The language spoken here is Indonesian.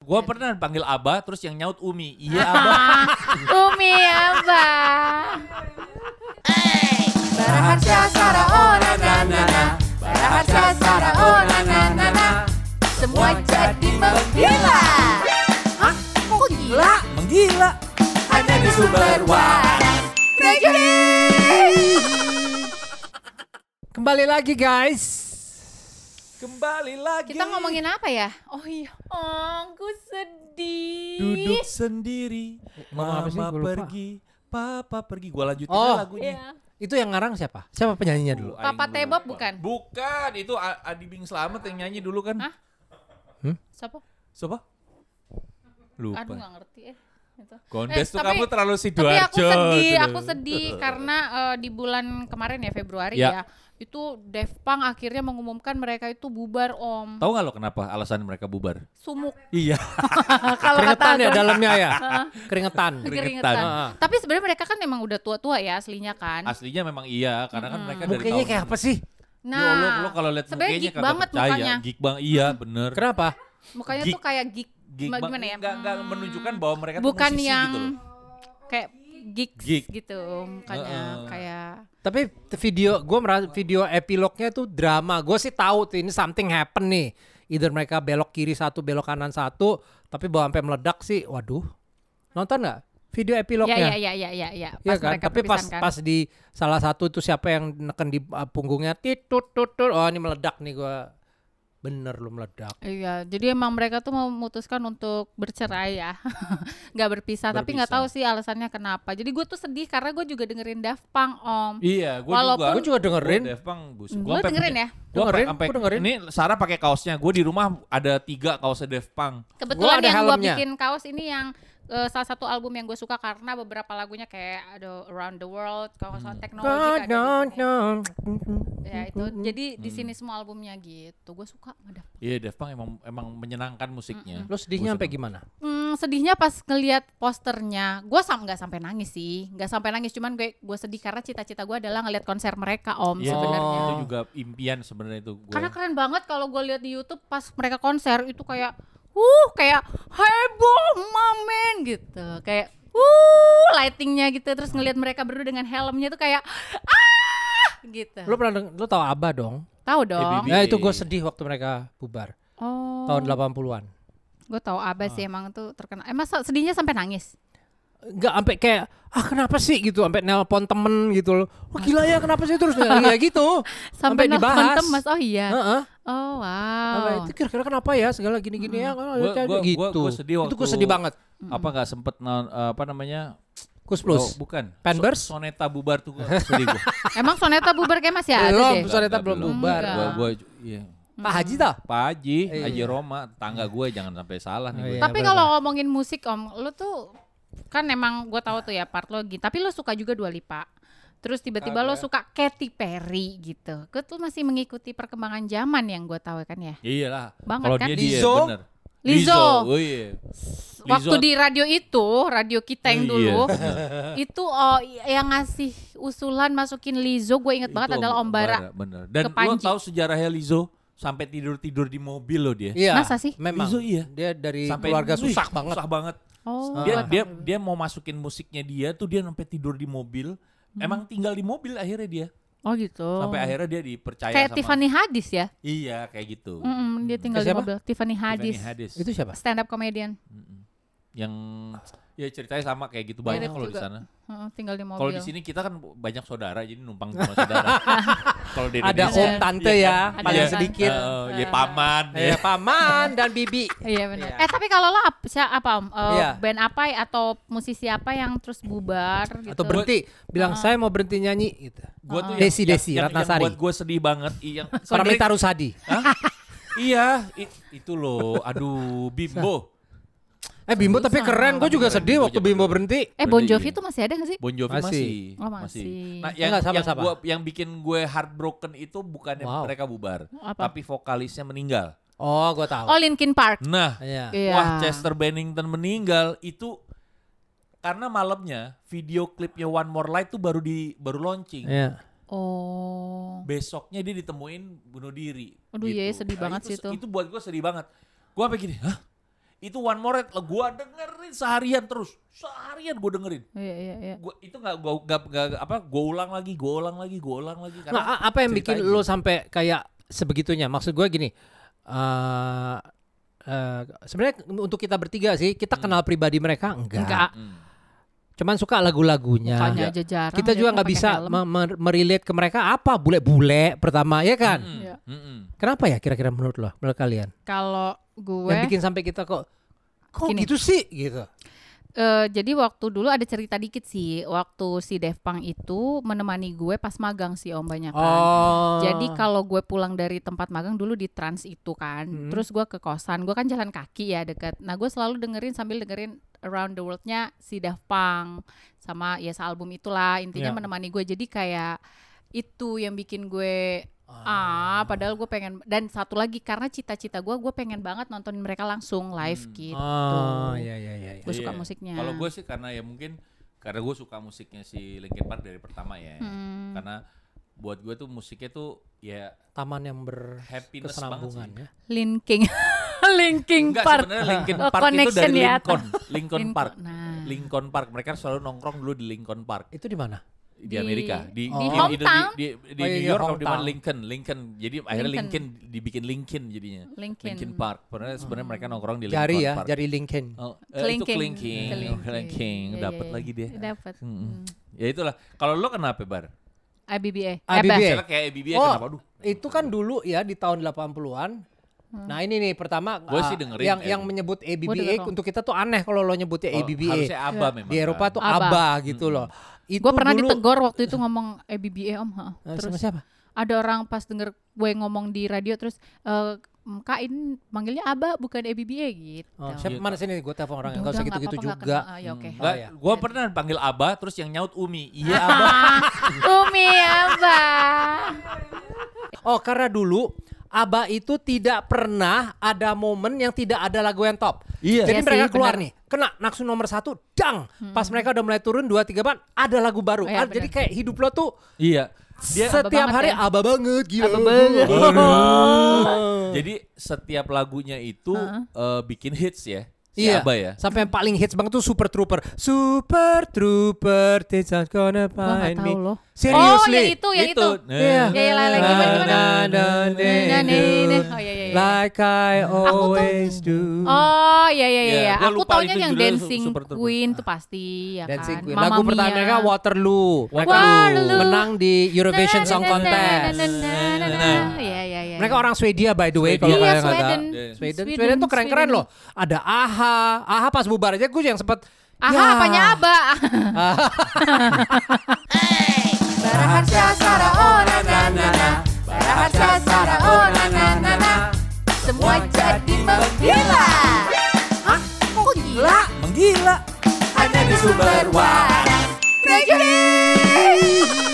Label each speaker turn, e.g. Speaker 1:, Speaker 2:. Speaker 1: Gua pernah panggil Abah terus yang nyaut Umi. Iya
Speaker 2: Ah.
Speaker 1: Abah.
Speaker 2: Umi apa? Baraharsya Sara oh na na na na. Baraharsya Sara oh na na na na. Semua jadi menggila. Hah? Kok gila?
Speaker 1: Menggila.
Speaker 2: Hanya di sumber waras.
Speaker 3: Kembali lagi guys.
Speaker 1: Kembali lagi.
Speaker 2: Kita ngomongin apa ya? Oh iya, oh, aku sedih.
Speaker 1: duduk sendiri.
Speaker 3: Ngomong apa sih?
Speaker 1: Mama
Speaker 3: Gua lupa.
Speaker 1: pergi, papa pergi. Gua lanjutin
Speaker 3: Oh.
Speaker 1: aja lagunya.
Speaker 2: Iya.
Speaker 3: Itu yang ngarang siapa? Siapa penyanyinya dulu?
Speaker 1: Aing
Speaker 2: Papa
Speaker 1: lupa.
Speaker 2: Tebob bukan?
Speaker 1: Bukan, itu A- Adi Bing Slamet yang nyanyi dulu kan.
Speaker 2: Hah? Siapa?
Speaker 1: Siapa? Lupa.
Speaker 2: Aduh nggak ngerti eh. Itu.
Speaker 1: Gondes
Speaker 2: Eh,
Speaker 1: tuh
Speaker 2: tapi-
Speaker 1: kamu terlalu
Speaker 2: Tapi
Speaker 1: sidoarjo.
Speaker 2: aku sedih,
Speaker 1: tuh.
Speaker 2: aku sedih karena eh, di bulan kemarin ya Februari
Speaker 1: Ya.
Speaker 2: ya. Itu Def Punk akhirnya mengumumkan mereka itu bubar Om.
Speaker 1: Tahu nggak lo kenapa alasan mereka bubar?
Speaker 2: Sumuk
Speaker 1: Iya.
Speaker 2: kalau kata
Speaker 3: Keringetan ya
Speaker 2: aku.
Speaker 3: dalamnya ya. Keringetan.
Speaker 2: Keringetan.
Speaker 3: Heeh.
Speaker 2: Tapi sebenarnya mereka kan memang udah tua-tua ya aslinya kan.
Speaker 1: Aslinya memang iya, karena kan mereka dari
Speaker 3: Mukanya
Speaker 1: tahun-
Speaker 3: kayak apa sih?
Speaker 2: Nah,
Speaker 1: Yo, lo, lo kalau lihat
Speaker 2: sebenarnya
Speaker 1: mukanya
Speaker 2: geek
Speaker 1: kagak
Speaker 2: banget
Speaker 1: percaya.
Speaker 2: mukanya.
Speaker 1: Geek bang, iya bener.
Speaker 3: Kenapa?
Speaker 2: Mukanya
Speaker 1: Geek.
Speaker 2: tuh kayak geek,
Speaker 1: Geek
Speaker 2: Ma-
Speaker 1: bang,
Speaker 2: gimana ya?
Speaker 1: nggak- nggak
Speaker 2: Hmm,
Speaker 1: menunjukkan bahwa mereka tuh
Speaker 2: bukan
Speaker 1: musisi
Speaker 2: yang
Speaker 1: gitu loh.
Speaker 2: kayak geeks
Speaker 1: Geek.
Speaker 2: gitu mukanya
Speaker 1: Heeh.
Speaker 2: kayak
Speaker 3: Tapi video gue merasa video epilognya tuh drama. Gue sih tahu tuh ini something happen nih. Either mereka belok kiri satu, belok kanan satu, tapi bawa sampai meledak sih. Waduh. Nonton nggak video
Speaker 2: ya
Speaker 3: epilognya?
Speaker 2: ya ya ya ya ya
Speaker 3: Iya kan?
Speaker 2: mereka
Speaker 3: Tapi pas
Speaker 2: perpisahan kan.
Speaker 3: pas di salah satu tuh siapa yang neken di uh, punggungnya titut tutut. Oh, ini meledak nih gua. Bener lu meledak.
Speaker 2: Iya, jadi emang mereka tuh memutuskan untuk bercerai ya, nggak berpisah. Tapi nggak tahu
Speaker 1: Berpisah.
Speaker 2: sih alasannya kenapa. Jadi gue tuh sedih karena gue juga dengerin Daft Punk om.
Speaker 1: Iya, gue juga.
Speaker 2: Walaupun-
Speaker 3: Gue juga dengerin.
Speaker 1: Gua Def Punk, buset.
Speaker 2: Lu
Speaker 1: Gua sampai
Speaker 2: dengerin
Speaker 1: punya-
Speaker 2: ya?
Speaker 1: Gua
Speaker 3: Dengerin,
Speaker 1: sampai-
Speaker 3: gua dengerin.
Speaker 1: Ini Sarah pakai kaosnya. Gue di rumah ada tiga kaosnya Def Punk.
Speaker 2: Kebetulan
Speaker 3: Gua ada
Speaker 2: yang gue
Speaker 3: helmnya.
Speaker 2: bikin kaos ini yang eh, salah satu album yang gue suka karena beberapa lagunya kayak ada Around the World,
Speaker 1: Hmm.
Speaker 2: kalau nggak gitu salah teknologi
Speaker 3: Nah, nah,
Speaker 2: ada di sini.
Speaker 3: nah.
Speaker 2: Ya itu, jadi di sini
Speaker 1: Hmm.
Speaker 2: semua albumnya gitu. Gue suka sama Daft Punk.
Speaker 1: Iya, Def Punk emang emang menyenangkan musiknya.
Speaker 3: Lu sedihnya
Speaker 1: Gua
Speaker 3: sampai
Speaker 1: seneng.
Speaker 3: gimana?
Speaker 2: Hmm, sedihnya pas ngelihat posternya, gue sam nggak sampai nangis sih, nggak sampai nangis, cuman gue gue sedih karena cita-cita gue adalah ngelihat konser mereka om
Speaker 1: Iya,
Speaker 2: sebenarnya.
Speaker 1: itu juga impian sebenarnya itu gue.
Speaker 2: Karena keren banget kalau gue lihat di YouTube pas mereka konser itu kayak, uh kayak heboh mamen gitu, kayak uh lightingnya gitu, terus ngelihat mereka berdua dengan helmnya itu kayak ah gitu.
Speaker 3: Lu pernah deng- lu tahu Abah dong?
Speaker 2: Tahu dong?
Speaker 1: ABB.
Speaker 3: Nah, itu gue sedih waktu mereka bubar
Speaker 2: Oh,
Speaker 3: tahun Ah. 80-an.
Speaker 2: gue tahu Abah sih emang tuh terkenal. Eh masa sedihnya sampai nangis?
Speaker 3: Enggak sampai kayak ah kenapa sih gitu sampai nelpon temen gitu loh. Wah gila ya kenapa sih terus ya gitu.
Speaker 2: Sampai,
Speaker 3: Sampai
Speaker 2: nelfon
Speaker 3: dibahas.
Speaker 2: temes. Oh iya.
Speaker 3: Heeh.
Speaker 2: Oh Hmm.
Speaker 3: Apa
Speaker 2: wow.
Speaker 3: itu kira-kira kenapa ya segala gini-gini ya kalau
Speaker 1: Gua-
Speaker 3: ada-
Speaker 1: gua-
Speaker 3: gitu.
Speaker 1: gua- gua sedih
Speaker 3: itu gue
Speaker 1: waktu-
Speaker 3: sedih banget.
Speaker 1: apa nggak sempet non, apa namanya?
Speaker 3: Kus plus.
Speaker 1: Oh, bukan.
Speaker 3: Pampers?
Speaker 1: So- soneta bubar tuh gue sedih gue.
Speaker 2: Emang Soneta bubar kayak masih ada
Speaker 3: Belum.
Speaker 2: deh.
Speaker 3: Soneta belum bubar.
Speaker 1: Gue gue iya.
Speaker 3: Pak Haji tau?
Speaker 1: Pak Haji,
Speaker 3: Iya.
Speaker 1: Haji Roma, tangga
Speaker 2: Iya.
Speaker 1: gue jangan sampai salah nih
Speaker 3: Oh,
Speaker 1: gue.
Speaker 3: iya.
Speaker 2: Tapi kalau ngomongin musik Om, lu tuh kan emang gue tahu tuh ya part lo gitu. Tapi lu suka juga Dua Lipa. Terus tiba-tiba lo
Speaker 1: Kagak.
Speaker 2: suka Katy Perry gitu. Gue tuh masih mengikuti perkembangan zaman yang gue tahu kan ya.
Speaker 1: Iyalah.
Speaker 2: Banget
Speaker 1: Kalau
Speaker 2: kan?
Speaker 1: dia
Speaker 3: Lizzo?
Speaker 1: dia bener.
Speaker 2: Lizzo.
Speaker 1: Oh iya.
Speaker 2: Waktu
Speaker 1: Lizzo-
Speaker 2: di radio itu, radio kita yang
Speaker 1: Iya,
Speaker 2: dulu,
Speaker 1: bener.
Speaker 2: itu oh, yang ngasih usulan masukin Lizzo, gue inget banget
Speaker 1: Itu
Speaker 2: adalah Om Bara.
Speaker 1: bener. Dan
Speaker 2: ke Panji.
Speaker 1: lo tahu sejarahnya Lizzo sampai tidur-tidur di mobil lo dia.
Speaker 3: Iya.
Speaker 2: Masa sih?
Speaker 3: Memang.
Speaker 1: Lizzo, iya.
Speaker 3: Dia dari
Speaker 1: Sampai
Speaker 3: keluarga
Speaker 1: wih,
Speaker 3: susah banget.
Speaker 1: Susah banget.
Speaker 2: Oh,
Speaker 1: Dia
Speaker 2: nggak
Speaker 1: dia
Speaker 2: tahu.
Speaker 1: dia mau masukin musiknya dia tuh dia sampai tidur di mobil. Emang tinggal di mobil akhirnya dia.
Speaker 2: Hmm. oh gitu.
Speaker 1: Sampai akhirnya dia dipercaya
Speaker 2: kayak
Speaker 1: sama
Speaker 2: Tiffany Hadis ya.
Speaker 1: Iya, kayak gitu.
Speaker 2: Mm-mm, dia tinggal di
Speaker 3: Siapa?
Speaker 2: mobil. Tiffany
Speaker 1: Tiffany
Speaker 2: Hadis.
Speaker 1: Haddish.
Speaker 3: Itu siapa?
Speaker 2: Stand up comedian.
Speaker 1: Yang ya ceritanya sama kayak gitu banyak
Speaker 2: Mirip
Speaker 1: kalau di
Speaker 2: Iya, juga.
Speaker 1: sana.
Speaker 2: Heeh, tinggal di mobil.
Speaker 1: Kalau di sini kita kan banyak saudara jadi numpang sama saudara. Kalau di
Speaker 3: Ada
Speaker 1: Indonesia,
Speaker 3: om tante
Speaker 1: Iya.
Speaker 2: Ada
Speaker 3: ya,
Speaker 2: Iya.
Speaker 3: paling
Speaker 2: om tante.
Speaker 3: sedikit.
Speaker 1: eh, ya paman
Speaker 3: Ya
Speaker 1: ya.
Speaker 3: paman dan bibi.
Speaker 2: Iya benar.
Speaker 3: Iya.
Speaker 2: Eh tapi kalau lo apa, siapa apa om? Eh,
Speaker 3: Iya.
Speaker 2: Band apa atau musisi apa yang terus bubar gitu?
Speaker 3: Atau berhenti, bilang saya mau berhenti nyanyi gitu.
Speaker 1: Gua
Speaker 2: Ah.
Speaker 1: tuh
Speaker 3: Desi
Speaker 1: yang-
Speaker 3: Desi
Speaker 1: yang- yang
Speaker 3: Ratnasari.
Speaker 1: buat gue sedih banget i- yang
Speaker 3: Paramita Rusadi.
Speaker 1: Hah? iya, i- itu loh. Aduh, Bimbo.
Speaker 3: Eh Bimbo tapi keren, gue juga
Speaker 1: Keren,
Speaker 3: sedih
Speaker 1: Bimbo
Speaker 3: waktu
Speaker 1: juga
Speaker 3: Bimbo
Speaker 1: keren.
Speaker 3: berhenti.
Speaker 2: Eh Bon
Speaker 1: Berhenti.
Speaker 2: Jovi
Speaker 3: gitu.
Speaker 2: itu masih ada gak sih?
Speaker 1: Bon Jovi
Speaker 3: Masih.
Speaker 1: masih.
Speaker 2: Oh, masih.
Speaker 1: Nah, yang
Speaker 3: Enggak, sama,
Speaker 1: yang
Speaker 3: sama.
Speaker 1: gua yang bikin gue heartbroken itu bukannya
Speaker 3: Wow.
Speaker 1: mereka bubar,
Speaker 2: Apa?
Speaker 1: tapi vokalisnya meninggal.
Speaker 3: Oh gue tahu.
Speaker 2: Oh Linkin Park.
Speaker 1: Nah,
Speaker 3: Iya.
Speaker 2: Iya.
Speaker 1: Wah, Chester Bennington meninggal itu karena malamnya video klipnya One More Light tuh baru di baru launching.
Speaker 3: Iya.
Speaker 2: Oh.
Speaker 1: Besoknya dia ditemuin bunuh diri. gitu. Nah,
Speaker 2: Aduh, iya, sedih banget sih itu.
Speaker 1: Itu buat gue sedih banget. Gue apa gini, hah? Itu One More Red, gue dengerin seharian terus. Seharian gue dengerin.
Speaker 2: Iya iya iya.
Speaker 1: Gua, itu nggak gua nggak- nggak- apa gue ulang lagi gue ulang lagi gue ulang lagi
Speaker 2: ah.
Speaker 3: Nah,
Speaker 1: karena
Speaker 3: a- apa yang bikin
Speaker 1: ceritanya.
Speaker 3: lo sampai kayak sebegitunya? Maksud gue gini, eh eh, sebenarnya untuk kita bertiga sih, kita kenal pribadi mereka enggak.
Speaker 2: Enggak.
Speaker 1: Hmm.
Speaker 3: Cuman suka lagu-lagunya.
Speaker 2: Mukanya ya, aja jarang.
Speaker 3: Nah, Kita juga
Speaker 2: liatnya
Speaker 3: nggak
Speaker 2: gitu, pakai
Speaker 3: bisa
Speaker 2: helm.
Speaker 3: me- me- merelate ke mereka apa bule-bule pertama ya kan?
Speaker 1: Mm-mm.
Speaker 2: Iya.
Speaker 1: Mm-mm.
Speaker 3: Kenapa ya kira-kira menurut lo, menurut kalian?
Speaker 2: Kalau gue
Speaker 3: Yang bikin sampai kita kok kok
Speaker 2: Gini.
Speaker 3: gitu sih gitu.
Speaker 2: eh, jadi waktu dulu ada cerita dikit sih waktu si Dev Pang itu menemani gue pas magang sih Om banyak
Speaker 3: Oh.
Speaker 2: Kan. Jadi kalau gue pulang dari tempat magang dulu di Trans itu kan,
Speaker 3: Hmm.
Speaker 2: terus gue ke kosan, gue kan jalan kaki ya dekat. Nah gue selalu dengerin sambil dengerin Around the World-nya si Daft Punk sama ya album itulah intinya
Speaker 3: Ya.
Speaker 2: menemani gue. Jadi kayak itu yang bikin gue ah padahal gue pengen dan satu lagi karena cita-cita gue gue pengen banget nontonin mereka langsung live
Speaker 1: Hmm.
Speaker 2: gitu.
Speaker 3: Oh, iya iya iya. iya.
Speaker 2: Gue
Speaker 1: Iya.
Speaker 2: suka musiknya.
Speaker 1: Kalau gue sih karena ya mungkin karena gue suka musiknya si Linkin Park dari pertama ya.
Speaker 2: Hmm.
Speaker 1: Karena buat gue tuh musiknya tuh ya
Speaker 3: Taman yang berkesinambungan
Speaker 1: Happiness banget sih.
Speaker 3: ya.
Speaker 2: Linking, linking
Speaker 1: enggak
Speaker 2: part.
Speaker 1: sebenarnya Linkin
Speaker 2: Oh,
Speaker 1: Park itu
Speaker 2: connection
Speaker 1: dari
Speaker 2: ya.
Speaker 1: Lincoln, Lincoln
Speaker 2: Lincoln,
Speaker 1: Park.
Speaker 2: nah.
Speaker 1: Lincoln Park mereka selalu nongkrong dulu di Lincoln Park
Speaker 3: Itu di mana?
Speaker 1: di,
Speaker 2: Di-
Speaker 1: Amerika di di,
Speaker 2: di
Speaker 1: di-
Speaker 2: hometown.
Speaker 1: di, di- di
Speaker 3: Oh, iya,
Speaker 1: New
Speaker 3: iya,
Speaker 1: York atau di mana
Speaker 3: hometown.
Speaker 1: Lincoln Lincoln jadi akhirnya Lincoln
Speaker 2: Lincoln.
Speaker 1: dibikin Lincoln jadinya
Speaker 2: Linkin.
Speaker 1: Lincoln Park sebenarnya sebenarnya mereka nongkrong di Lincoln
Speaker 3: Jari ya,
Speaker 1: Park
Speaker 3: jari Lincoln.
Speaker 1: Oh, eh, itu
Speaker 2: Kelingking.
Speaker 1: kelingking,
Speaker 2: Kelingking.
Speaker 1: kelingking,
Speaker 2: Iya, iya,
Speaker 1: dapat
Speaker 2: iya. Hmm.
Speaker 1: lagi dia.
Speaker 2: Dapat.
Speaker 1: Mm-mm. Ya itulah. Kalau lo kenapa bar?
Speaker 2: ABBA.
Speaker 3: ABBA.
Speaker 2: Abah.
Speaker 1: Misalnya kayak ABB
Speaker 3: Oh,
Speaker 1: iya, kenapa? Aduh.
Speaker 3: Itu kan dulu ya di tahun 80-an.
Speaker 2: Hmm.
Speaker 3: Nah, ini nih pertama
Speaker 1: Gua sih
Speaker 3: ah,
Speaker 1: dengerin,
Speaker 3: yang
Speaker 1: eh.
Speaker 3: yang menyebut
Speaker 2: denger
Speaker 3: ABBA
Speaker 2: dong.
Speaker 3: untuk kita tuh aneh kalau lo nyebutnya
Speaker 1: Kalau Oh, Harusnya
Speaker 3: ABBA.
Speaker 2: Iya.
Speaker 1: ABBA memang.
Speaker 3: Di Eropa tuh
Speaker 2: ABBA.
Speaker 3: ABBA, gitu loh. Itu
Speaker 2: Gue Hmm. pernah
Speaker 3: dulu-
Speaker 2: ditegor waktu itu ngomong ABBA om. ha.
Speaker 3: Eh,
Speaker 2: Terus
Speaker 3: sama siapa?
Speaker 2: ada orang pas denger gue ngomong di radio terus eh "Mm, kak ini manggilnya Aba bukan ABBA gitu.
Speaker 3: Oh,
Speaker 1: Iya,
Speaker 3: siapa mana sini gue telepon orangnya. Enggak usah
Speaker 2: Udah, nggak
Speaker 3: gitu-gitu
Speaker 2: apa-apa, nggak
Speaker 3: juga.
Speaker 2: kenal. Ah, ya oke.
Speaker 1: Enggak,
Speaker 3: Oh, iya.
Speaker 1: gue pernah panggil Aba terus yang nyaut Umi. Iya Aba.
Speaker 2: Umi Aba.
Speaker 3: Oh, karena dulu ABBA itu tidak pernah ada momen yang tidak ada lagu yang top.
Speaker 1: Iya.
Speaker 3: Jadi
Speaker 2: Iya
Speaker 3: mereka
Speaker 2: sih, benar.
Speaker 3: keluar
Speaker 2: Hmm.
Speaker 3: nih, kena naksu nomor satu, dang. Pas mereka udah mulai turun dua tiga ban, ada lagu baru.
Speaker 2: Iya,
Speaker 3: Ah, jadi
Speaker 2: benar.
Speaker 3: kayak hidup lo tuh
Speaker 1: iya.
Speaker 3: setiap
Speaker 2: banget
Speaker 3: hari
Speaker 2: ya.
Speaker 3: ABBA banget gila. Oh.
Speaker 2: Abah banget.
Speaker 1: Iya.
Speaker 2: Hmm.
Speaker 1: Jadi setiap lagunya itu eh, bikin hits ya. Si
Speaker 3: Iya,
Speaker 1: Aba ya.
Speaker 3: sampai yang paling hits banget tuh Super Trooper. Super Trooper, this is gonna find
Speaker 2: tahu
Speaker 3: me.
Speaker 2: loh. Oh ya
Speaker 3: Seriously.
Speaker 2: itu ya itu.
Speaker 1: Nah.
Speaker 2: Ya, ya, lah, lagi
Speaker 3: Na,
Speaker 2: gimana, Nah, gimana?
Speaker 3: na, na,
Speaker 2: Na,
Speaker 3: na,
Speaker 2: na, na.
Speaker 3: na.
Speaker 2: Oh, iya, iya, iya.
Speaker 3: Like I always do.
Speaker 2: Oh iya iya iya.
Speaker 1: Iya,
Speaker 2: iya.
Speaker 1: gua
Speaker 2: Aku
Speaker 1: lupa
Speaker 2: taunya
Speaker 1: itu
Speaker 2: yang
Speaker 1: judulnya
Speaker 2: Dancing
Speaker 1: Super Ah. Turbo.
Speaker 2: Queen tuh pasti ya
Speaker 3: Dancing
Speaker 2: kan.
Speaker 3: Queen.
Speaker 2: Mamma
Speaker 3: Lagu pertama
Speaker 2: Mia.
Speaker 3: mereka Waterloo. Mereka
Speaker 2: Waterloo.
Speaker 3: menang di Eurovision Song
Speaker 2: Na, na, na, na, na,
Speaker 3: Contest.
Speaker 2: na, na, na, na. Iya iya iya.
Speaker 3: Mereka orang Swedia by the way
Speaker 1: Swedia.
Speaker 3: kalau
Speaker 2: Iya,
Speaker 3: kalian nggak tahu.
Speaker 2: Sweden.
Speaker 3: Sweden.
Speaker 2: Sweden,
Speaker 3: Sweden tuh keren-keren
Speaker 2: Sweden.
Speaker 3: loh. Ada AHA, AHA pas bubar aja gue yang sempat
Speaker 2: Aha
Speaker 3: Ya.
Speaker 2: apanya Aba? oh, Semua jadi menggila. Hah? Kok gila?
Speaker 1: Menggila.
Speaker 4: Hanya di sumber waras. Thank you.